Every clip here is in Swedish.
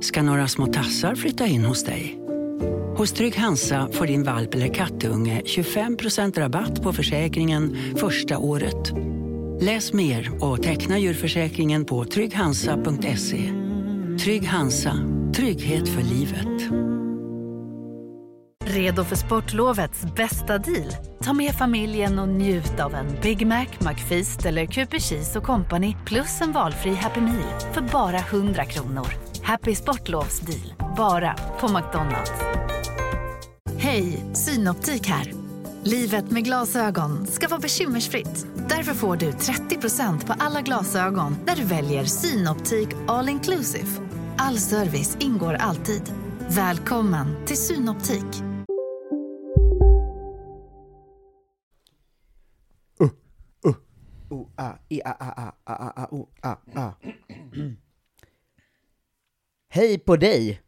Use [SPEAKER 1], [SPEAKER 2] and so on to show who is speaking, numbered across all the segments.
[SPEAKER 1] ska några små tassar flytta in hos dig. Hos Trygg Hansa får din valp eller kattunge 25% rabatt på försäkringen första året. Läs mer och teckna djurförsäkringen på trygghansa.se. Trygg Hansa, trygghet för livet.
[SPEAKER 2] Redo för sportlovets bästa deal? Ta med familjen och njut av en Big Mac, McFeast eller Cooper Cheese och Company plus en valfri Happy Meal för bara 100 kronor. Happy Sportlovs deal, bara på McDonalds. Hej, Synoptik här. Livet med glasögon ska vara bekymmersfritt. Därför får du 30% på alla glasögon när du väljer Synoptik All Inclusive. All service ingår alltid. Välkommen till Synoptik.
[SPEAKER 3] O, a, e, a, a, a, a, a, a, o, a, a. Hej på dig!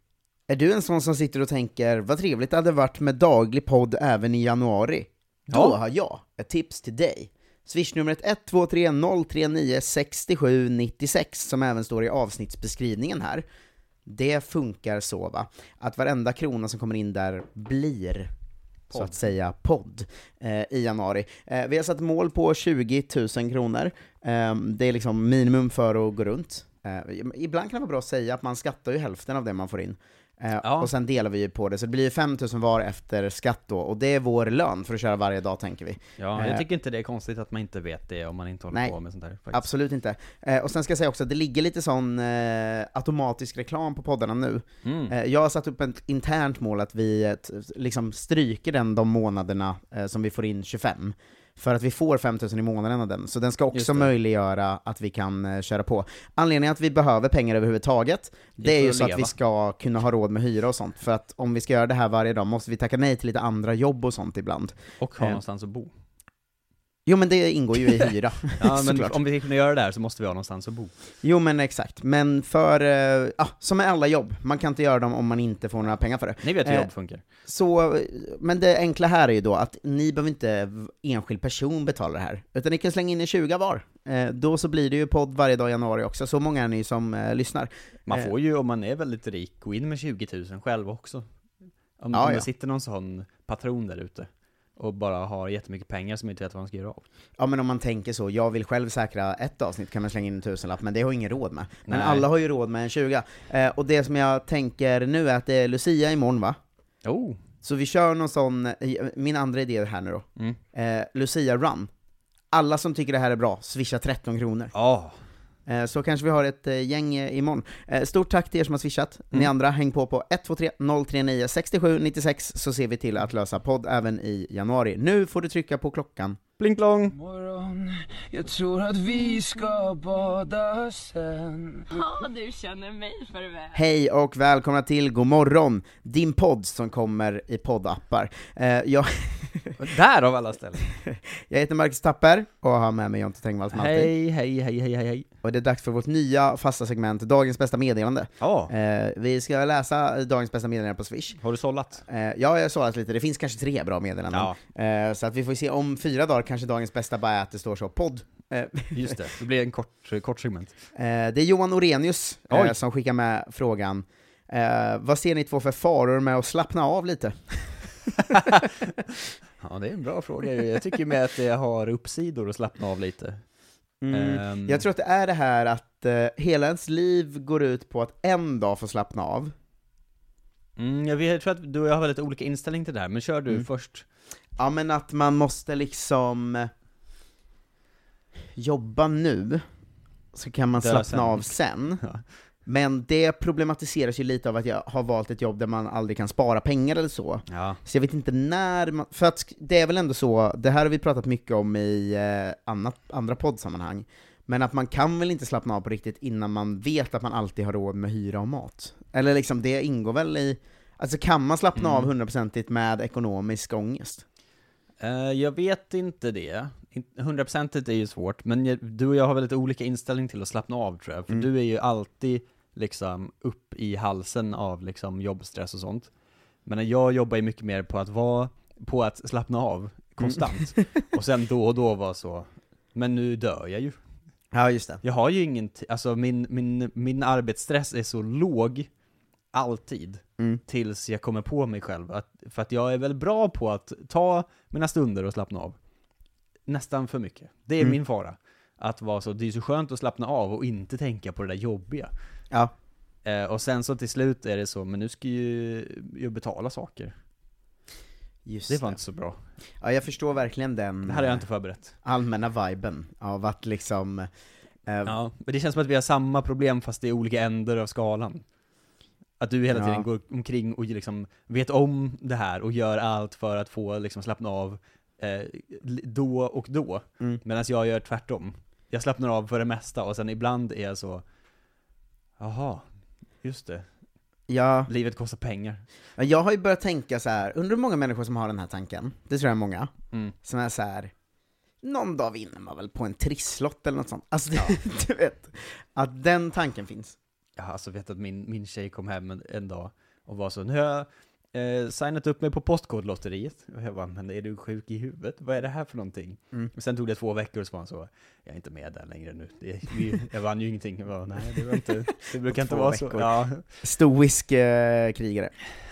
[SPEAKER 3] Är du en sån som sitter och tänker, vad trevligt det hade varit med daglig podd även i januari? Då
[SPEAKER 4] Ja.
[SPEAKER 3] har jag ett tips till dig. Swishnumret 123 039 67 96, som även står i avsnittsbeskrivningen här. Det funkar så va, att varenda krona som kommer in där blir så att säga podd eh, i januari. Eh, vi har satt mål på 20 000 kronor. Eh, det är liksom minimum för att gå runt. Eh, ibland kan det vara bra att säga att man skattar ju hälften av det man får in. Eh,
[SPEAKER 4] Ja.
[SPEAKER 3] Och sen delar vi ju på det, så det blir ju 5 000 var efter skatt då, och det är vår lön för att köra varje dag tänker vi.
[SPEAKER 4] Ja,
[SPEAKER 3] Eh.
[SPEAKER 4] jag tycker inte det är konstigt att man inte vet det om man inte håller
[SPEAKER 3] Nej.
[SPEAKER 4] på med sånt där faktiskt.
[SPEAKER 3] Absolut inte. Eh, och sen ska jag säga också att det ligger lite sån eh, automatisk reklam på poddarna nu.
[SPEAKER 4] Mm.
[SPEAKER 3] Eh, jag har satt upp ett internt mål att vi eh, t- liksom stryker den de månaderna eh, som vi får in 25. För att vi får 5000 i månaden av den, så den ska
[SPEAKER 4] Just
[SPEAKER 3] också
[SPEAKER 4] det.
[SPEAKER 3] möjliggöra att vi kan eh, köra på. Anledningen att vi behöver pengar överhuvudtaget, det är
[SPEAKER 4] är för
[SPEAKER 3] ju
[SPEAKER 4] att
[SPEAKER 3] så att vi
[SPEAKER 4] leva.
[SPEAKER 3] ska kunna ha råd med hyra och sånt, för att om vi ska göra det här varje dag måste vi tacka nej till lite andra jobb och sånt ibland.
[SPEAKER 4] Och ha
[SPEAKER 3] Eh.
[SPEAKER 4] någonstans att bo.
[SPEAKER 3] Jo men det ingår ju i hyra,
[SPEAKER 4] Ja, men
[SPEAKER 3] såklart.
[SPEAKER 4] om vi ska kunna göra det här så måste vi ha någonstans att bo.
[SPEAKER 3] Jo men exakt, men för, eh, ja, som med alla jobb, man kan inte göra dem om man inte får några pengar för det.
[SPEAKER 4] Ni vet hur
[SPEAKER 3] Eh.
[SPEAKER 4] jobb funkar.
[SPEAKER 3] Så, eh, men det enkla här är ju då att ni behöver inte v- enskild person betala det här, utan ni kan slänga in en 20 var. Eh, då så blir det ju podd varje dag i januari också, så många är ni som eh, lyssnar.
[SPEAKER 4] Man
[SPEAKER 3] Eh.
[SPEAKER 4] får ju, om man är väldigt rik, gå in med 20 000 själv också. Om,
[SPEAKER 3] Ja,
[SPEAKER 4] om
[SPEAKER 3] ja.
[SPEAKER 4] det sitter någon sån patron där ute och bara har jättemycket pengar som inte vet vad man ska göra av.
[SPEAKER 3] Ja men om man tänker så, jag vill själv säkra ett avsnitt kan man slänga in en tusenlapp, men det har jag ingen råd med. Men
[SPEAKER 4] Nej.
[SPEAKER 3] alla har ju råd med en 20. Eh, och det som jag tänker nu är att det är Lucia imorgon va?
[SPEAKER 4] Oh!
[SPEAKER 3] Så vi kör någon sån, eh, min andra idé här nu då.
[SPEAKER 4] Mm.
[SPEAKER 3] Eh, Lucia Run. Alla som tycker det här är bra, swisha 13 kronor.
[SPEAKER 4] Ja.
[SPEAKER 3] Eh, så kanske vi har ett eh, gäng eh, imorgon. Eh, stort tack till er som har swishat. Ni
[SPEAKER 4] Mm.
[SPEAKER 3] andra, häng på på 123 039 67 96 så ser vi till att lösa podd även i januari. Nu får du trycka på klockan.
[SPEAKER 4] Blink long!
[SPEAKER 5] morgon Jag tror att vi ska bada sen
[SPEAKER 6] Ja, du känner mig för väl.
[SPEAKER 3] Hej och välkomna till God morgon, din podd som kommer i poddappar. Eh, jag,
[SPEAKER 4] Där av alla ställen!
[SPEAKER 3] jag heter Marcus Tapper och har med mig Jonte Tengvall som alltid.
[SPEAKER 4] Hej, hej, hej, hej, hej, hej.
[SPEAKER 3] Och det är dags för vårt nya fasta segment, Dagens bästa meddelande.
[SPEAKER 4] Ja.
[SPEAKER 3] Eh, vi ska läsa dagens bästa meddelande på Swish.
[SPEAKER 4] Har du sållat?
[SPEAKER 3] Eh, ja, jag har sållat lite, det finns kanske tre bra meddelanden. Eh, så att vi får se, om fyra dagar kanske dagens bästa bara är att det står så, podd. Eh,
[SPEAKER 4] Just det, det blir en kort, kort segment.
[SPEAKER 3] eh, det är Johan Orenius eh,
[SPEAKER 4] Oj.
[SPEAKER 3] som skickar med frågan, eh, vad ser ni två för faror med att slappna av lite?
[SPEAKER 4] Ja, det är en bra fråga ju. Jag tycker med att det har uppsidor att slappna av lite. Ehm,
[SPEAKER 3] Jag tror att det är det här att eh, hela ens liv går ut på att en dag få slappna av.
[SPEAKER 4] Mm, jag, vet, jag tror att du och jag har väldigt olika inställning till det här, men kör du först.
[SPEAKER 3] Ja men att man måste liksom eh, jobba nu, så kan man
[SPEAKER 4] Dö
[SPEAKER 3] slappna
[SPEAKER 4] sen.
[SPEAKER 3] av sen.
[SPEAKER 4] Ja.
[SPEAKER 3] Men det problematiseras ju lite av att jag har valt ett jobb där man aldrig kan spara pengar eller så.
[SPEAKER 4] Ja.
[SPEAKER 3] Så jag vet inte när man, för att sk- det är väl ändå så, det här har vi pratat mycket om i eh, annat, andra poddsammanhang, men att man kan väl inte slappna av på riktigt innan man vet att man alltid har råd med hyra och mat? Eller liksom, det ingår väl i, alltså kan man slappna
[SPEAKER 4] Mm.
[SPEAKER 3] av hundraprocentigt med ekonomisk ångest?
[SPEAKER 4] Eh, jag vet inte det. In- 100% är ju svårt, men jag, du och jag har väldigt olika inställning till att slappna av tror jag. För du är ju alltid liksom upp i halsen av liksom jobbstress och sånt. Men jag jobbar ju mycket mer på att vara, på att slappna av konstant. och sen då och då vara så, men nu dör jag ju.
[SPEAKER 3] Ja just det.
[SPEAKER 4] Jag har ju ingen, t- alltså min, min, min arbetsstress är så låg alltid,
[SPEAKER 3] Mm.
[SPEAKER 4] tills jag kommer på mig själv. Att, för att jag är väl bra på att ta mina stunder och slappna av. Nästan för mycket. Det är
[SPEAKER 3] Mm.
[SPEAKER 4] min fara. Att vara så, det är så skönt att slappna av och inte tänka på det där jobbiga.
[SPEAKER 3] Ja.
[SPEAKER 4] Eh, och sen så till slut är det så, men nu ska ju jag betala saker.
[SPEAKER 3] Just
[SPEAKER 4] Det var inte så bra.
[SPEAKER 3] Ja, jag förstår verkligen den
[SPEAKER 4] Det här har jag inte förberett.
[SPEAKER 3] allmänna viben av att liksom... eh,
[SPEAKER 4] Ja, men det känns som att vi har samma problem fast det är olika ändar av skalan. Att du hela
[SPEAKER 3] Ja.
[SPEAKER 4] tiden går omkring och liksom vet om det här och gör allt för att få liksom slappna av eh, li- då och då.
[SPEAKER 3] Mm.
[SPEAKER 4] Medan jag gör tvärtom. Jag slappnar av för det mesta och sen ibland är jag så, jaha, just det,
[SPEAKER 3] Ja,
[SPEAKER 4] livet kostar pengar.
[SPEAKER 3] men jag har ju börjat tänka så här. undrar hur många människor som har den här tanken? Det tror jag är många.
[SPEAKER 4] Mm.
[SPEAKER 3] Som är så här. någon dag vinner man väl på en trisslott eller något sånt. Alltså, du vet. Att den tanken finns.
[SPEAKER 4] Jag har alltså vet att min, min tjej kom hem en, en dag och var så, nu har jag eh, signat upp mig på Postkodlotteriet. Och jag bara, men är du sjuk i huvudet? Vad är det här för någonting?
[SPEAKER 3] Mm.
[SPEAKER 4] Och sen tog det två veckor och så var han så, jag är inte med där längre nu. Det, vi, jag vann ju ingenting. Jag bara, nej, det, var inte, det brukar inte
[SPEAKER 3] Två
[SPEAKER 4] vara så.
[SPEAKER 3] veckor.
[SPEAKER 4] Ja.
[SPEAKER 3] Stoisk eh, krigare.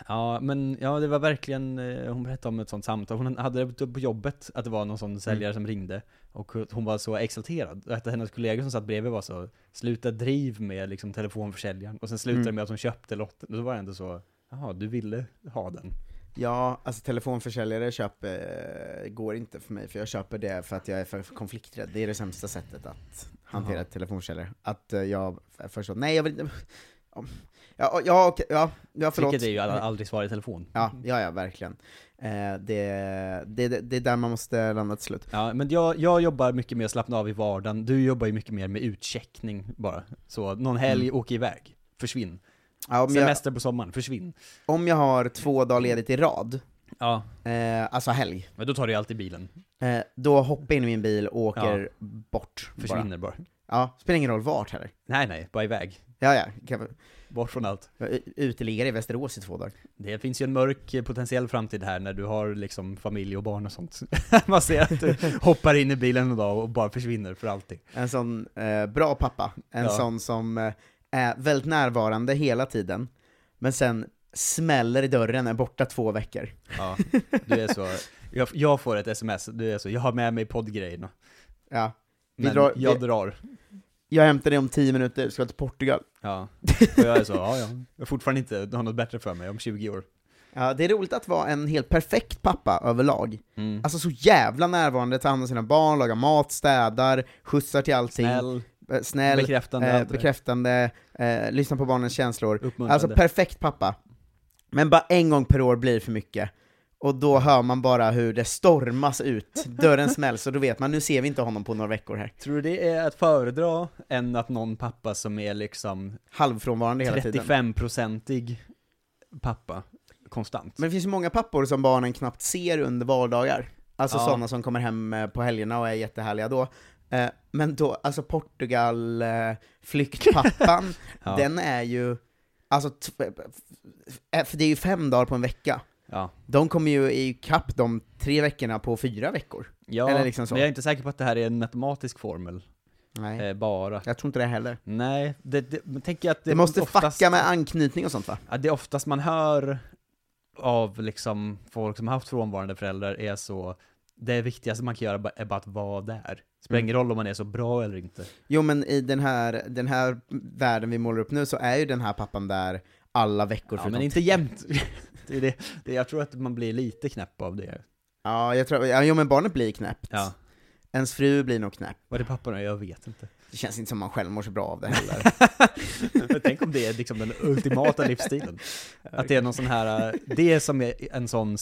[SPEAKER 4] ja, men ja, det var verkligen, eh, hon berättade om ett sånt samtal. Hon hade det på jobbet, att det var någon sån säljare som ringde. Och hon var så exalterad. Och Att hennes kollegor som satt bredvid var så, sluta driv med liksom, telefonförsäljaren. Och sen slutade det
[SPEAKER 3] Mm.
[SPEAKER 4] med att hon köpte lotten. Och då var det ändå så, jaha, du ville ha den.
[SPEAKER 3] Ja, alltså telefonförsäljare köp, eh, går inte för mig, för jag köper det för att jag är för konflikträdd. Det är det sämsta sättet att hantera
[SPEAKER 4] Jaha.
[SPEAKER 3] ett telefonförsäljare. Att eh, jag f- först så, nej jag vill inte... Ja, ja, okej, ja, ja förlåt.
[SPEAKER 4] Vilket är ju alla- aldrig svara i telefon.
[SPEAKER 3] Ja, ja, ja verkligen. Eh, det, det, det, det är där man måste landa till slut.
[SPEAKER 4] Ja, men jag, jag jobbar mycket mer att slappna av i vardagen, du jobbar ju mycket mer med utcheckning bara. Så någon helg, åk iväg, försvinn.
[SPEAKER 3] Ja, om, jag,
[SPEAKER 4] Semester på sommaren, försvinn.
[SPEAKER 3] om jag har två dagar ledigt i rad,
[SPEAKER 4] Ja,
[SPEAKER 3] eh, alltså helg,
[SPEAKER 4] men då tar du ju alltid bilen,
[SPEAKER 3] eh, då hoppar jag in i min bil och åker
[SPEAKER 4] Ja.
[SPEAKER 3] bort. bara.
[SPEAKER 4] försvinner bara.
[SPEAKER 3] Ja, spelar ingen roll vart heller.
[SPEAKER 4] Nej, nej, bara iväg.
[SPEAKER 3] Ja, ja, kan,
[SPEAKER 4] Bort från allt.
[SPEAKER 3] jag är uteliggare i Västerås i två dagar.
[SPEAKER 4] Det finns ju en mörk eh, potentiell framtid här när du har liksom familj och barn och sånt. Man ser att du hoppar in i bilen en dag och bara försvinner för alltid.
[SPEAKER 3] En sån eh, bra pappa, en
[SPEAKER 4] Ja.
[SPEAKER 3] sån som eh, är väldigt närvarande hela tiden, men sen smäller i dörren, är borta två veckor.
[SPEAKER 4] Ja, du är så, jag, jag får ett sms, du är så, jag har med mig poddgrejerna,
[SPEAKER 3] Ja. Vi
[SPEAKER 4] men
[SPEAKER 3] drar-
[SPEAKER 4] jag
[SPEAKER 3] vi-
[SPEAKER 4] drar.
[SPEAKER 3] Jag hämtar dig om tio minuter, ska till Portugal.
[SPEAKER 4] Ja, och jag är så, ja, ja. Jag har fortfarande inte har något bättre för mig om 20 år.
[SPEAKER 3] Ja, det är roligt att vara en helt perfekt pappa överlag. Alltså så jävla närvarande, tar hand om sina barn, lagar mat, städar, skjutsar till allting.
[SPEAKER 4] Snäll,
[SPEAKER 3] eh, snäll
[SPEAKER 4] bekräftande,
[SPEAKER 3] eh,
[SPEAKER 4] allt det där.
[SPEAKER 3] bekräftande eh, lyssnar på barnens känslor.
[SPEAKER 4] uppmuntrande.
[SPEAKER 3] Alltså perfekt pappa. Men bara en gång per år blir för mycket. Och då hör man bara hur det stormas ut, dörren smälls och då vet man nu ser vi inte honom på några veckor här.
[SPEAKER 4] Tror du det är att föredra än att någon pappa som är liksom
[SPEAKER 3] Halvfrånvarande hela tiden.
[SPEAKER 4] 35-procentig pappa konstant?
[SPEAKER 3] Men det finns ju många pappor som barnen knappt ser under vardagar. Alltså
[SPEAKER 4] Ja.
[SPEAKER 3] sådana som kommer hem eh, på helgerna och är jättehärliga då. Eh, Men då, alltså Portugal, eh, flyktpappan,
[SPEAKER 4] Ja.
[SPEAKER 3] den är ju, alltså, t- eh, för det är ju fem dagar på en vecka.
[SPEAKER 4] Ja.
[SPEAKER 3] De kommer ju ikapp de tre veckorna på fyra veckor.
[SPEAKER 4] Ja,
[SPEAKER 3] Eller liksom så.
[SPEAKER 4] men jag är inte säker på att det här är en matematisk formel,
[SPEAKER 3] Nej.
[SPEAKER 4] eh, bara.
[SPEAKER 3] Jag tror inte det heller.
[SPEAKER 4] Nej, det, det, men tänker jag att det,
[SPEAKER 3] Det, måste
[SPEAKER 4] oftast,
[SPEAKER 3] fucka med anknytning och sånt va?
[SPEAKER 4] Ja, det oftast man hör av liksom folk som har haft frånvarande föräldrar är så, det viktigaste man kan göra ba- är bara att vara där. Spelar
[SPEAKER 3] Mm.
[SPEAKER 4] ingen roll om man är så bra eller inte.
[SPEAKER 3] Jo men i den här, den här världen vi målar upp nu så är ju den här pappan där alla veckor
[SPEAKER 4] Ja,
[SPEAKER 3] förutom
[SPEAKER 4] men inte jämt. det är det, det, jag tror att man blir lite knäpp av det.
[SPEAKER 3] Ja, jag tror, ja, jo men barnet blir knäppt.
[SPEAKER 4] Ja.
[SPEAKER 3] Ens fru blir nog knäpp.
[SPEAKER 4] Var det papporna? Jag vet inte.
[SPEAKER 3] Det känns inte som man själv mår så bra av det heller.
[SPEAKER 4] Men Tänk om det är liksom den ultimata livsstilen. Att det är någon sån här, äh, det är som är en sån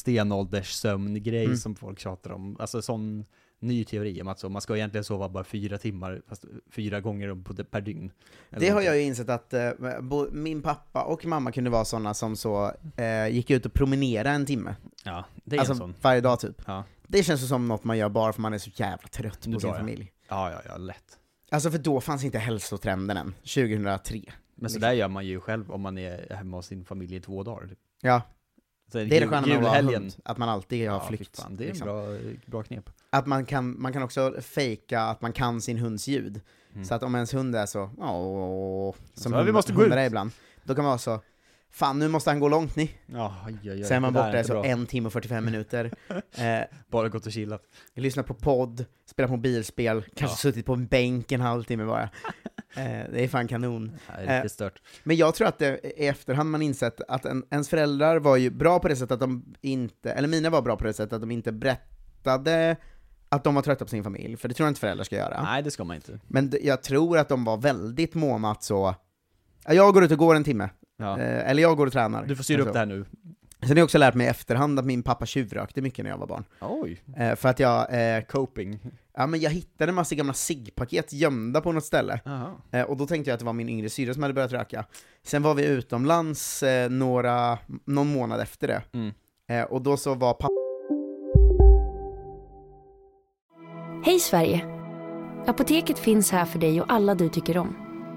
[SPEAKER 4] stenålderssömngrej
[SPEAKER 3] Mm.
[SPEAKER 4] som folk tjatar om. Alltså sån ny teori om att så, man ska egentligen sova bara fyra timmar, fast fyra gånger om på- per dygn. Eller
[SPEAKER 3] det har
[SPEAKER 4] någonting.
[SPEAKER 3] jag ju insett att eh, bo, min pappa och mamma kunde vara sådana som så, eh, gick ut och promenera en timme.
[SPEAKER 4] Ja, det är en
[SPEAKER 3] Alltså
[SPEAKER 4] sån.
[SPEAKER 3] varje dag typ.
[SPEAKER 4] Ja.
[SPEAKER 3] Det känns ju som något man gör bara för man är så jävla trött
[SPEAKER 4] Nu
[SPEAKER 3] på sin
[SPEAKER 4] drar jag.
[SPEAKER 3] familj.
[SPEAKER 4] Ja, ja, ja, lätt.
[SPEAKER 3] Alltså för då fanns inte hälsotrenden än, 2003.
[SPEAKER 4] Men så där gör man ju själv om man är hemma hos sin familj i två dagar. typ.
[SPEAKER 3] Ja,
[SPEAKER 4] Så
[SPEAKER 3] det är det sköna med att vara
[SPEAKER 4] julhelgen-
[SPEAKER 3] hund, att man alltid har
[SPEAKER 4] fy
[SPEAKER 3] flykt.
[SPEAKER 4] Fan, det är
[SPEAKER 3] liksom.
[SPEAKER 4] bra, bra knep.
[SPEAKER 3] Att man kan, man kan också fejka att man kan sin hunds ljud.
[SPEAKER 4] Mm.
[SPEAKER 3] Så att om ens hund är så, åh, som
[SPEAKER 4] Så, "Vi måste gå
[SPEAKER 3] hundar
[SPEAKER 4] ut."
[SPEAKER 3] är ibland, då kan man vara så, Fan, nu måste han gå långt ni.
[SPEAKER 4] Ja, oj, oj, oj.
[SPEAKER 3] Sen är man
[SPEAKER 4] Det där
[SPEAKER 3] borta i
[SPEAKER 4] inte
[SPEAKER 3] så
[SPEAKER 4] bra.
[SPEAKER 3] en timme och 45 minuter. Eh,
[SPEAKER 4] Bara gått och chillat.
[SPEAKER 3] lyssnat på podd, spelat mobilspel, kanske
[SPEAKER 4] Ja.
[SPEAKER 3] suttit på en bänk en halvtimme bara. Eh, det är fan kanon.
[SPEAKER 4] Nej, det är
[SPEAKER 3] Eh,
[SPEAKER 4] riktigt stört.
[SPEAKER 3] Men jag tror att det är i efterhand man insett att en, ens föräldrar var ju bra på det sättet att de inte, eller mina var bra på det sättet att de inte berättade att de var trötta på sin familj, för det tror jag inte föräldrar ska göra.
[SPEAKER 4] Nej, det ska man inte.
[SPEAKER 3] Men d- jag tror att de var väldigt måna att så, "Ja, jag går ut och går en timme,
[SPEAKER 4] Ja.
[SPEAKER 3] eh, eller jag går och tränar. Alltså,
[SPEAKER 4] Du får styra upp det här nu.
[SPEAKER 3] Sen har jag också lärt mig i efterhand att min pappa tjuvrökte mycket när jag var barn.
[SPEAKER 4] Oj,
[SPEAKER 3] Eh, för att jag, eh,
[SPEAKER 4] coping.
[SPEAKER 3] ja, men jag hittade en massa gamla ciggpaket gömda på något ställe.
[SPEAKER 4] Jaha.
[SPEAKER 3] Eh, Och då tänkte jag att det var min yngre syrra som hade börjat röka. Sen var vi utomlands eh, några, någon månad efter det.
[SPEAKER 4] Mm.
[SPEAKER 3] Eh, och då så var pappa
[SPEAKER 7] Hej Sverige! Apoteket finns här för dig och alla du tycker om.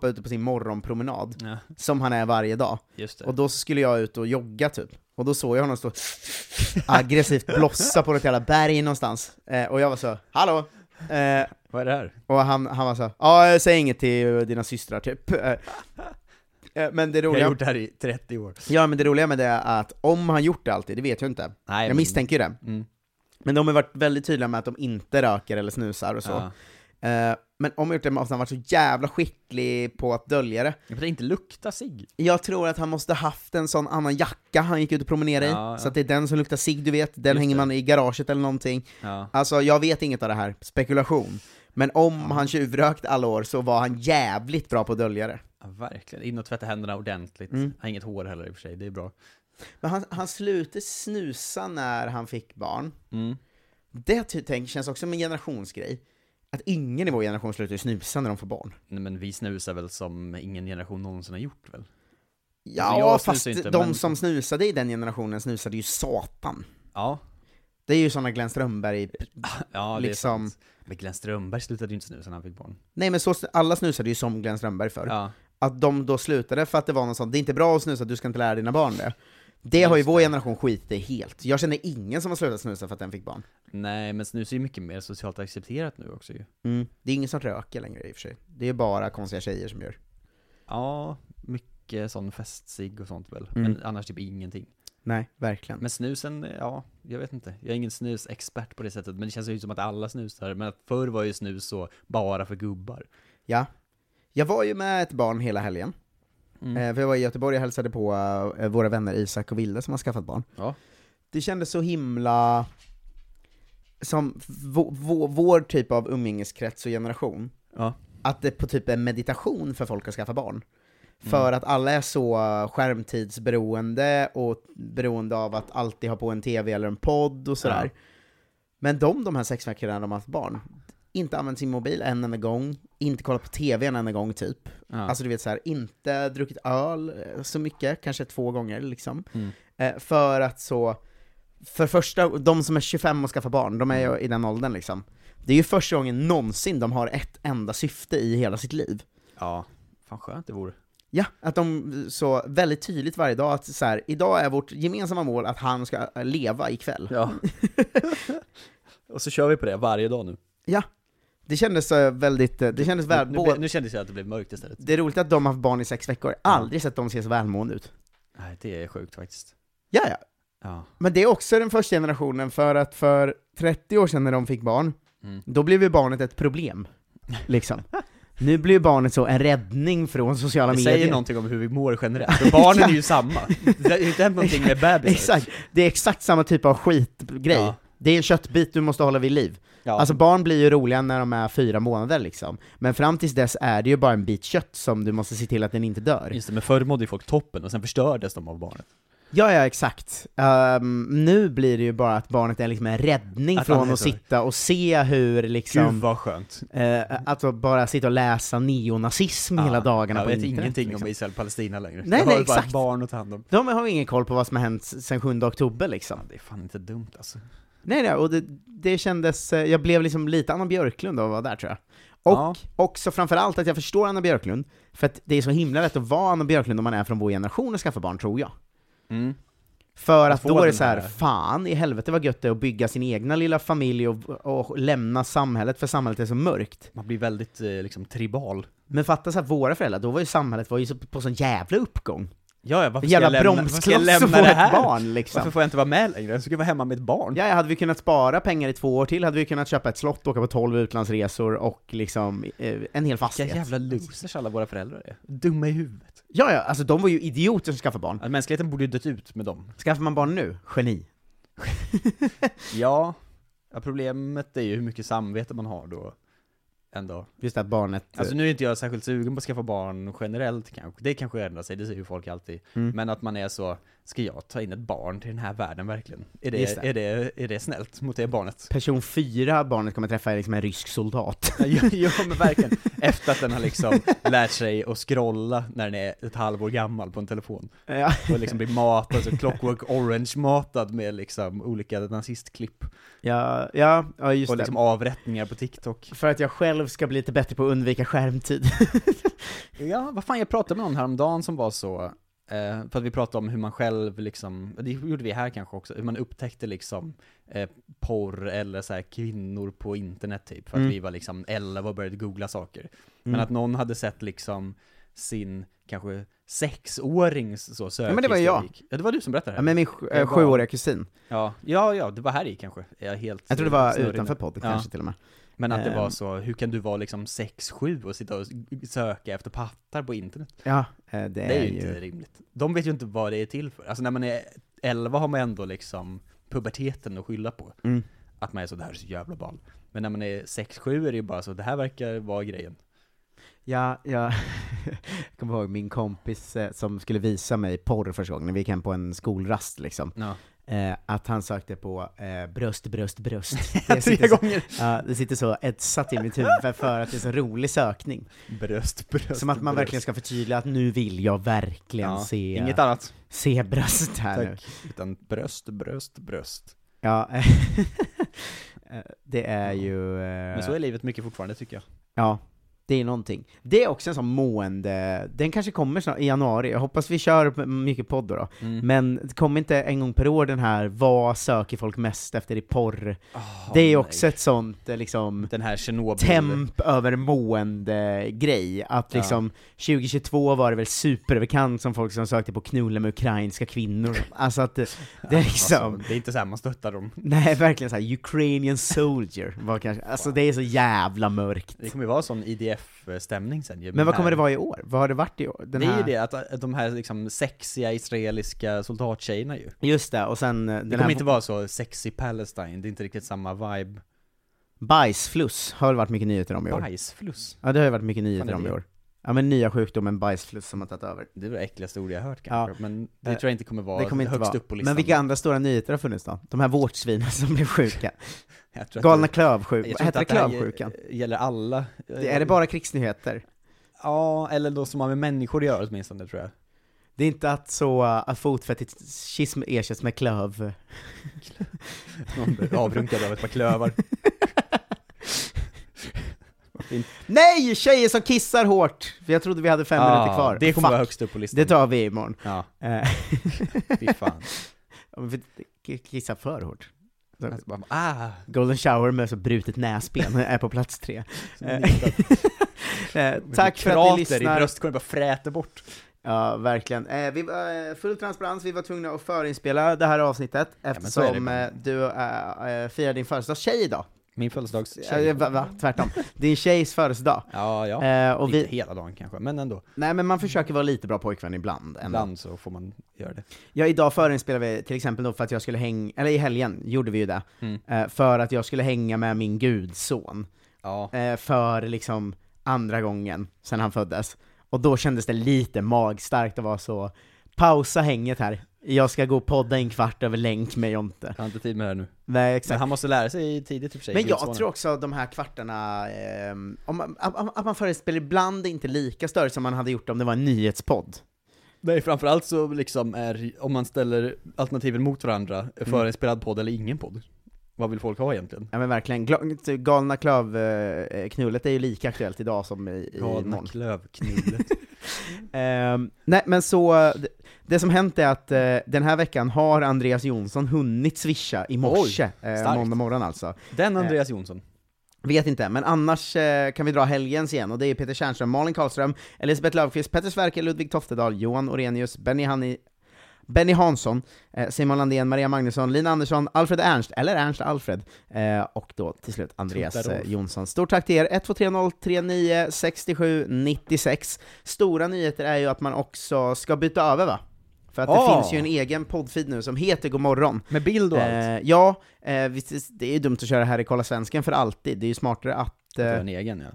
[SPEAKER 3] var ute på sin morgonpromenad,
[SPEAKER 4] Ja,
[SPEAKER 3] som han är varje dag.
[SPEAKER 4] just det.
[SPEAKER 3] Och då så skulle jag ut och jogga typ. Och då såg jag honom stå aggressivt blossa på något jävla berg någonstans. Eh, och jag var så, hallå! Eh,
[SPEAKER 4] Vad är det här?
[SPEAKER 3] och han, han var så, ja säg inget till eh, dina systrar typ. Eh, eh, men det
[SPEAKER 4] Jag har
[SPEAKER 3] roliga,
[SPEAKER 4] gjort det här i 30 år.
[SPEAKER 3] ja, men det roliga med det är att om han gjort det alltid, det vet jag inte.
[SPEAKER 4] Nej,
[SPEAKER 3] Jag misstänker ju det.
[SPEAKER 4] Mm.
[SPEAKER 3] Men de har varit väldigt tydliga med att de inte röker eller snusar och så.
[SPEAKER 4] Ja.
[SPEAKER 3] Eh, men om jag gjort det måste han varit så jävla skicklig på att dölja det.
[SPEAKER 4] Men det inte lukta sig.
[SPEAKER 3] Jag tror att han måste haft en sån annan jacka han gick ut och promenerade
[SPEAKER 4] Ja,
[SPEAKER 3] i,
[SPEAKER 4] ja.
[SPEAKER 3] så att det är den som luktar cigg du vet, den
[SPEAKER 4] Just
[SPEAKER 3] hänger
[SPEAKER 4] det.
[SPEAKER 3] man i garaget eller någonting.
[SPEAKER 4] Ja.
[SPEAKER 3] Alltså jag vet inget av det här, spekulation. Men om han tjuvrökt alla år så var han jävligt bra på att dölja det.
[SPEAKER 4] ja, verkligen. In och tvätta händerna ordentligt.
[SPEAKER 3] Mm.
[SPEAKER 4] Har inget hår heller i och för sig, det är bra.
[SPEAKER 3] Men han, han slutade snusa när han fick barn.
[SPEAKER 4] Mm.
[SPEAKER 3] Det ty- tänk, känns också som en generationsgrej. Att ingen i vår generation slutar ju snusa när de får barn.
[SPEAKER 4] Nej, men vi snusar väl som ingen generation någonsin har gjort väl?
[SPEAKER 3] Ja,
[SPEAKER 4] Alltså, jag
[SPEAKER 3] fast
[SPEAKER 4] snusar inte,
[SPEAKER 3] de
[SPEAKER 4] men-
[SPEAKER 3] som snusade i den generationen snusade ju satan.
[SPEAKER 4] Ja.
[SPEAKER 3] Det är ju såna Glenn Strömberg...
[SPEAKER 4] Ja, det
[SPEAKER 3] Liksom-
[SPEAKER 4] är sant. Men Glenn Strömberg slutade ju inte snusa när han fick barn.
[SPEAKER 3] Nej men så, alla snusade ju som Glenn Strömberg förr.
[SPEAKER 4] Ja.
[SPEAKER 3] Att de då slutade för att det var någon sån, det är inte bra att snusa, du ska inte lära dina barn det. Det har ju
[SPEAKER 4] Just
[SPEAKER 3] vår
[SPEAKER 4] det.
[SPEAKER 3] generation skitit i helt. Jag känner ingen som har slutat snusa för att den fick barn.
[SPEAKER 4] Nej, men snus är ju mycket mer socialt accepterat nu också ju.
[SPEAKER 3] Mm, Det är ingen som röker längre i och för sig. Det är bara konstiga tjejer som gör.
[SPEAKER 4] Ja, mycket sån festsig och sånt väl.
[SPEAKER 3] Mm.
[SPEAKER 4] Men annars typ ingenting.
[SPEAKER 3] Nej, verkligen.
[SPEAKER 4] Men snusen, ja, jag vet inte. Jag är ingen snusexpert på det sättet, men det känns ju som att alla snusar. Men att förr var ju snus så bara för gubbar.
[SPEAKER 3] Ja. Jag var ju med ett barn hela helgen.
[SPEAKER 4] Mm.
[SPEAKER 3] Eh, för jag var i Göteborg och hälsade på eh, våra vänner Isak och Vilde som har skaffat barn.
[SPEAKER 4] Ja.
[SPEAKER 3] Det kändes så himla... Som vå- vå- vår typ av umgängeskrets och generation.
[SPEAKER 4] Ja.
[SPEAKER 3] Att det på typ en meditation för folk att skaffa barn. För att alla är så skärmtidsberoende och beroende av att alltid ha på en tv eller en podd och sådär. Men de, de här sex veckorna de har haft barn, inte använt sin mobil en enda gång, inte kollat på tv en enda gång typ.
[SPEAKER 4] Ja.
[SPEAKER 3] Alltså du vet så här, inte druckit öl eh, så mycket, kanske två gånger liksom.
[SPEAKER 4] Mm.
[SPEAKER 3] Eh, för att så, för första, de som är 25 och skaffar barn, de är ju i den åldern liksom. Det är ju första gången någonsin de har ett enda syfte i hela sitt liv.
[SPEAKER 4] ja. Fan skönt det vore.
[SPEAKER 3] Ja, att de så väldigt tydligt varje dag att så här, idag är vårt gemensamma mål att han ska eh, leva ikväll.
[SPEAKER 4] Ja. och så kör vi på det varje dag nu.
[SPEAKER 3] Det kändes eh, väldigt, eh, det kändes väl,
[SPEAKER 4] nu,
[SPEAKER 3] både-
[SPEAKER 4] nu, nu kändes det att det blev mörkt istället.
[SPEAKER 3] det är roligt att de har haft barn i sex veckor, Jag har aldrig sett dem se så välmående ut.
[SPEAKER 4] Nej, det är sjukt faktiskt.
[SPEAKER 3] Ja, ja.
[SPEAKER 4] Ja.
[SPEAKER 3] Men det är också den första generationen, för att för 30 år sedan när de fick barn,
[SPEAKER 4] Mm.
[SPEAKER 3] då blev ju barnet ett problem. Liksom. nu blir ju barnet så en räddning från sociala
[SPEAKER 4] Det
[SPEAKER 3] medier.
[SPEAKER 4] säger någonting om hur vi mår generellt, för barnen är ju samma. Det har ju inte hänt någonting med bebisar.
[SPEAKER 3] Exakt, det är exakt samma typ av skitgrej.
[SPEAKER 4] Ja.
[SPEAKER 3] Det är en köttbit du måste hålla vid liv.
[SPEAKER 4] Ja.
[SPEAKER 3] Alltså barn blir ju roliga när de är fyra månader liksom, men fram tills dess är det ju bara en bit kött som du måste se till att den inte dör.
[SPEAKER 4] Just det, men förr mådde ju folk toppen och sen förstördes de av barnet.
[SPEAKER 3] Ja, ja exakt. Ehm, nu blir det ju bara att barnet är liksom en räddning
[SPEAKER 4] Att han
[SPEAKER 3] från
[SPEAKER 4] är
[SPEAKER 3] att
[SPEAKER 4] så-
[SPEAKER 3] sitta och se hur liksom,
[SPEAKER 4] Gud vad skönt.
[SPEAKER 3] eh,
[SPEAKER 4] Mm.
[SPEAKER 3] att bara sitta och läsa neonazism Mm, hela dagarna
[SPEAKER 4] Ah, jag
[SPEAKER 3] på
[SPEAKER 4] vet
[SPEAKER 3] internet.
[SPEAKER 4] ingenting
[SPEAKER 3] liksom.
[SPEAKER 4] om Israel och Palestina längre.
[SPEAKER 3] Nej,
[SPEAKER 4] jag
[SPEAKER 3] nej,
[SPEAKER 4] har ju bara
[SPEAKER 3] exakt.
[SPEAKER 4] ett barn att ta hand om.
[SPEAKER 3] De har ju ingen koll på vad som har hänt sen 7 oktober liksom.
[SPEAKER 4] Det är fan inte dumt alltså.
[SPEAKER 3] Nej, nej, och det, det kändes, eh, jag blev liksom lite Anna Björklund av att vara där tror jag. Och
[SPEAKER 4] Ja.
[SPEAKER 3] också framförallt att jag förstår Anna Björklund, för att det är så himla lätt att vara Anna Björklund om man är från vår generation och skaffa barn, tror jag.
[SPEAKER 4] Mm.
[SPEAKER 3] För
[SPEAKER 4] Att
[SPEAKER 3] att
[SPEAKER 4] få
[SPEAKER 3] då är det
[SPEAKER 4] den
[SPEAKER 3] så här,
[SPEAKER 4] här-
[SPEAKER 3] fan i helvete vad gött det är att bygga sin egna lilla familj och, och lämna samhället, för samhället är så mörkt.
[SPEAKER 4] Man blir väldigt eh, liksom tribal.
[SPEAKER 3] Men fatta så här, våra föräldrar, då var ju samhället var ju så- på sån jävla uppgång.
[SPEAKER 4] Ja, ja, varför ska
[SPEAKER 3] Jävla
[SPEAKER 4] jag lämna, varför ska jag
[SPEAKER 3] bromskloss att få
[SPEAKER 4] lämna det här?
[SPEAKER 3] ett barn liksom.
[SPEAKER 4] Varför får jag inte vara med längre? Jag ska vara hemma med ett barn.
[SPEAKER 3] Ja, ja, hade vi kunnat spara pengar i två år till hade vi kunnat köpa ett slott, åka på 12 utlandsresor och liksom eh, en hel fastighet.
[SPEAKER 4] Vilka jävla losers alla våra föräldrar är. Dumma i huvudet.
[SPEAKER 3] Ja, ja, alltså de var ju idioter som skaffade barn.
[SPEAKER 4] Att mänskligheten borde ju dött ut med dem.
[SPEAKER 3] Skaffar man barn nu? Geni.
[SPEAKER 4] Ja, ja, problemet är ju hur mycket samvete man har då. En dag.
[SPEAKER 3] Just det att barnet... eh,
[SPEAKER 4] Alltså nu är inte jag särskilt sugen på att skaffa barn generellt kanske, det kanske ändrar sig, det säger ju folk alltid.
[SPEAKER 3] Mm.
[SPEAKER 4] Men att man är så, ska jag ta in ett barn till den här världen verkligen? Är det,
[SPEAKER 3] Just det.
[SPEAKER 4] Är det, är det snällt mot det barnet?
[SPEAKER 3] Person fyra barnet kommer träffa är liksom en rysk soldat.
[SPEAKER 4] ja, ja men verkligen. Efter att den har liksom lärt sig att scrolla när den är ett halvår gammal på en telefon.
[SPEAKER 3] ja.
[SPEAKER 4] Och liksom blir matad, så clockwork orange-matad med liksom olika nazistklipp.
[SPEAKER 3] Ja, ja, ja, just
[SPEAKER 4] Och
[SPEAKER 3] det.
[SPEAKER 4] liksom avrättningar på TikTok.
[SPEAKER 3] För att jag själv ska bli lite bättre på att undvika skärmtid.
[SPEAKER 4] Ja, vad fan, jag pratade med någon häromdagen som var så, eh, för att vi pratade om hur man själv liksom, det gjorde vi här kanske också, hur man upptäckte liksom eh, porr eller så här kvinnor på internet typ, för att
[SPEAKER 3] Mm.
[SPEAKER 4] vi var liksom 11 och började googla saker. Men
[SPEAKER 3] Mm.
[SPEAKER 4] att någon hade sett liksom sin, kanske sexårings så
[SPEAKER 3] men det var ju jag.
[SPEAKER 4] sökhistorik. Ja, det var du som berättade det.
[SPEAKER 3] Ja,
[SPEAKER 4] här.
[SPEAKER 3] men min sj-
[SPEAKER 4] Jag
[SPEAKER 3] eh,
[SPEAKER 4] var-
[SPEAKER 3] sjuåriga kusin.
[SPEAKER 4] ja, ja, ja, det var här i kanske. Jag, är helt
[SPEAKER 3] Jag tror det var
[SPEAKER 4] snurrig nu.
[SPEAKER 3] utanför podden
[SPEAKER 4] Ja.
[SPEAKER 3] kanske till och med.
[SPEAKER 4] Men att det
[SPEAKER 3] Ehm.
[SPEAKER 4] var så, hur kan du vara liksom 6-7 och sitta och söka efter pattar på internet?
[SPEAKER 3] Ja, eh, det,
[SPEAKER 4] Det är ju inte rimligt. De vet ju inte vad det är till för. Alltså när man är 11 har man ändå liksom puberteten att skylla på.
[SPEAKER 3] Mm.
[SPEAKER 4] Att man är så, det här är så jävla ball. Men när man är 6-7 är det ju bara så, det här verkar vara grejen.
[SPEAKER 3] Ja, ja. jag kommer ihåg min kompis eh, som skulle visa mig porr första gången, vi gick hem på en skolrast liksom.
[SPEAKER 4] Ja.
[SPEAKER 3] Eh, att han sökte på eh, bröst, bröst, bröst.
[SPEAKER 4] Tre
[SPEAKER 3] sitter så,
[SPEAKER 4] gånger!
[SPEAKER 3] ja, det sitter så etsat i mitt huvud för- för att det är så rolig sökning.
[SPEAKER 4] Bröst, bröst,
[SPEAKER 3] Som att man verkligen ska förtydliga att nu vill jag verkligen se,
[SPEAKER 4] Inget annat.
[SPEAKER 3] se bröst här nu.
[SPEAKER 4] Tack. Utan bröst, bröst, bröst.
[SPEAKER 3] Ja, eh, det är ju... eh,
[SPEAKER 4] Men så är livet mycket fortfarande tycker jag.
[SPEAKER 3] Ja, det är någonting. Det är också en sån mående, den kanske kommer snart, i januari, jag hoppas vi kör p- mycket podd
[SPEAKER 4] Mm.
[SPEAKER 3] då, då. Mm. Men kom inte en gång per år den här 'Vad söker folk mest efter i porr?' det är ju också ett sånt eh, liksom
[SPEAKER 4] Den här Tjernobyl...
[SPEAKER 3] temp över mående grej att
[SPEAKER 4] Ja.
[SPEAKER 3] liksom 2022 var det väl superbekant som folk som sökte på knulla med ukrainska kvinnor. Alltså att det, det är liksom,
[SPEAKER 4] Alltså, det är inte så här man stöttar dem.
[SPEAKER 3] nej verkligen såhär 'Ukrainian soldier' var kanske, alltså det är så jävla mörkt.
[SPEAKER 4] Det kommer ju vara sån IDF-stämning sen ju.
[SPEAKER 3] Men vad
[SPEAKER 4] här-
[SPEAKER 3] kommer det vara i år? Vad har det varit i år? Den
[SPEAKER 4] det är
[SPEAKER 3] här...
[SPEAKER 4] ju det, att att de här liksom sexiga israeliska soldattjejerna ju. Det
[SPEAKER 3] Just det, och sen eh, den
[SPEAKER 4] kommer
[SPEAKER 3] här
[SPEAKER 4] inte vara så sexy Palestine, det är inte riktigt samma vibe.
[SPEAKER 3] bajsfluss har det varit mycket nyheter om i år.
[SPEAKER 4] Bajsfluss.
[SPEAKER 3] Ja det har ju varit mycket
[SPEAKER 4] Fan,
[SPEAKER 3] nyheter
[SPEAKER 4] är
[SPEAKER 3] om i
[SPEAKER 4] det?
[SPEAKER 3] år. Ja men nya sjukdomen bajsfluss som har tagit över.
[SPEAKER 4] Det är det äckligaste ord jag har hört kanske, men det
[SPEAKER 3] Eh,
[SPEAKER 4] tror jag inte kommer vara
[SPEAKER 3] det kommer inte
[SPEAKER 4] högst
[SPEAKER 3] vara.
[SPEAKER 4] upp på listan.
[SPEAKER 3] Men vilka andra stora nyheter har funnits då? De här vårtsvinen som blev sjuka.
[SPEAKER 4] Jag tror att
[SPEAKER 3] Galna
[SPEAKER 4] det-
[SPEAKER 3] klövsjukan,
[SPEAKER 4] jag tror inte
[SPEAKER 3] hette det
[SPEAKER 4] att här
[SPEAKER 3] klövsjukan?
[SPEAKER 4] ge- gäller alla.
[SPEAKER 3] Det- Är det bara krigsnyheter?
[SPEAKER 4] Ja, eller de som har med människor att göra åtminstone tror jag.
[SPEAKER 3] Det är inte att så, uh, att fotfetishism ersätts med klöv?
[SPEAKER 4] Någon blir avrunkad av ett par klövar. Vad fint.
[SPEAKER 3] Nej! Tjejer som kissar hårt! För Jag trodde vi hade fem
[SPEAKER 4] Ja,
[SPEAKER 3] minuter kvar.
[SPEAKER 4] Det kommer
[SPEAKER 3] Fuck.
[SPEAKER 4] vara högst upp på listan.
[SPEAKER 3] Det tar vi imorgon.
[SPEAKER 4] Ja,
[SPEAKER 3] Eh,
[SPEAKER 4] fy fan.
[SPEAKER 3] om vi k- kissar för hårt. Så-
[SPEAKER 4] Alltså, bara, ah,
[SPEAKER 3] Golden shower med så brutet näsben är på plats tre.
[SPEAKER 4] så
[SPEAKER 3] Eh,
[SPEAKER 4] nitat.
[SPEAKER 3] Eh, Tack för att ni
[SPEAKER 4] i
[SPEAKER 3] lyssnar.
[SPEAKER 4] bröstkorgen bara fräter bort.
[SPEAKER 3] Ja, verkligen. Eh, vi, eh, full transparens, vi var tvungna att förinspela det här avsnittet
[SPEAKER 4] men så är det
[SPEAKER 3] eftersom
[SPEAKER 4] ibland.
[SPEAKER 3] eh, du eh, eh, firar din födelsedagstjej idag.
[SPEAKER 4] Min födelsedags
[SPEAKER 3] Eh, va, va, tvärtom. Din tjejs födelsedag.
[SPEAKER 4] Ja, ja.
[SPEAKER 3] Eh, och
[SPEAKER 4] Inte
[SPEAKER 3] vi,
[SPEAKER 4] hela dagen kanske, men ändå.
[SPEAKER 3] nej men man försöker vara lite bra pojkvän ibland. ändå.
[SPEAKER 4] Ibland så får man göra det.
[SPEAKER 3] Ja, idag förinspelade vi till exempel då för att jag skulle hänga, eller i helgen gjorde vi ju det,
[SPEAKER 4] Mm.
[SPEAKER 3] eh, för att jag skulle hänga med min gudson,
[SPEAKER 4] Ja.
[SPEAKER 3] eh, för liksom andra gången sen han föddes. Och då kändes det lite magstarkt att vara så, pausa hänget här, jag ska gå och podda en kvart över länk med Jonte.
[SPEAKER 4] Jag har inte tid med det här nu.
[SPEAKER 3] Nej
[SPEAKER 4] Men
[SPEAKER 3] exakt.
[SPEAKER 4] han måste lära sig tidigt i och för sig.
[SPEAKER 3] Men jag
[SPEAKER 4] Gudssonen.
[SPEAKER 3] tror också att de här kvartarna, eh, om man, att- att- att man förinspelar ibland är inte lika större som man hade gjort om det var en nyhetspodd.
[SPEAKER 4] Nej, framförallt så liksom är, om man ställer alternativen mot varandra,
[SPEAKER 3] Mm.
[SPEAKER 4] förinspelad podd eller ingen podd. Vad vill folk ha egentligen?
[SPEAKER 3] Ja men verkligen, Gla- galna klövknullet är ju lika aktuellt idag som i, i Eh.
[SPEAKER 4] Galna
[SPEAKER 3] imorgon.
[SPEAKER 4] klövknullet.
[SPEAKER 3] Ehm, nej men så, d- det som hänt är att eh, den här veckan har Andreas Jonsson hunnit swisha i morse, eh,
[SPEAKER 4] starkt.
[SPEAKER 3] måndag morgon alltså.
[SPEAKER 4] Den Andreas Jonsson.
[SPEAKER 3] Vet inte, men annars eh, kan vi dra helgens igen, och det är Peter Tjernström, Malin Karlström, Elisabeth Löfqvist, Petter Sverker, Ludvig Toftedal, Johan Orenius, Benny, Hanni, Benny Hansson, eh, Simon Landén, Maria Magnusson, Lina Andersson, Alfred Ernst, eller Ernst Alfred, eh, och då till slut Andreas
[SPEAKER 4] Tuttarolf.
[SPEAKER 3] eh, Jonsson. Stort tack till er! 1230-396796. Stora nyheter är ju att man också ska byta över va? För att det
[SPEAKER 4] Ah.
[SPEAKER 3] finns ju en egen poddfeed nu som heter Godmorgon.
[SPEAKER 4] Med bild och allt.
[SPEAKER 3] Eh, ja, eh, visst, det är ju dumt att köra här i Kolla Svensken för alltid, det är ju smartare att,
[SPEAKER 4] Det var
[SPEAKER 3] eh,
[SPEAKER 4] en egen ja.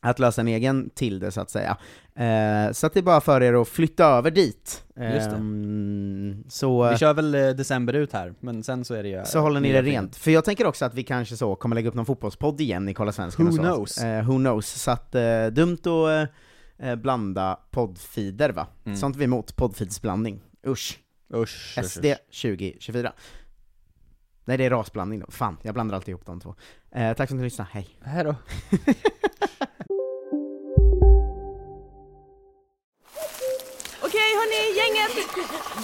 [SPEAKER 3] att lösa en egen till det så att säga. Eh, så att det är bara för er att flytta över dit.
[SPEAKER 4] Just det.
[SPEAKER 3] Ehm, så,
[SPEAKER 4] Vi kör väl eh, december ut här, men sen så är det ju...
[SPEAKER 3] så håller ni det
[SPEAKER 4] nya
[SPEAKER 3] rent. För jag tänker också att vi kanske så kommer lägga upp någon fotbollspodd igen i Kolla Svensken
[SPEAKER 4] Who
[SPEAKER 3] och så.
[SPEAKER 4] knows?
[SPEAKER 3] Eh, who knows? Så att, eh, dumt att eh, blanda poddfeeder va?
[SPEAKER 4] Mm.
[SPEAKER 3] Sånt är vi emot, poddfeedsblandning. Usch.
[SPEAKER 4] fint. Usch, usch,
[SPEAKER 3] SD 2024. Nej det är rasblandning då, fan jag blandar alltid ihop de två. Eh, tack för att ni lyssnade, hej!
[SPEAKER 4] usch. Här då.
[SPEAKER 6] Okej hörni, gänget!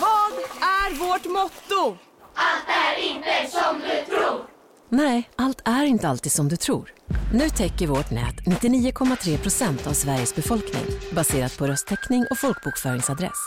[SPEAKER 6] Vad är vårt motto?
[SPEAKER 8] Nej, allt är inte alltid som du tror. Nu täcker vårt nät 99,3 procent av Sveriges befolkning baserat på röstteckning och folkbokföringsadress.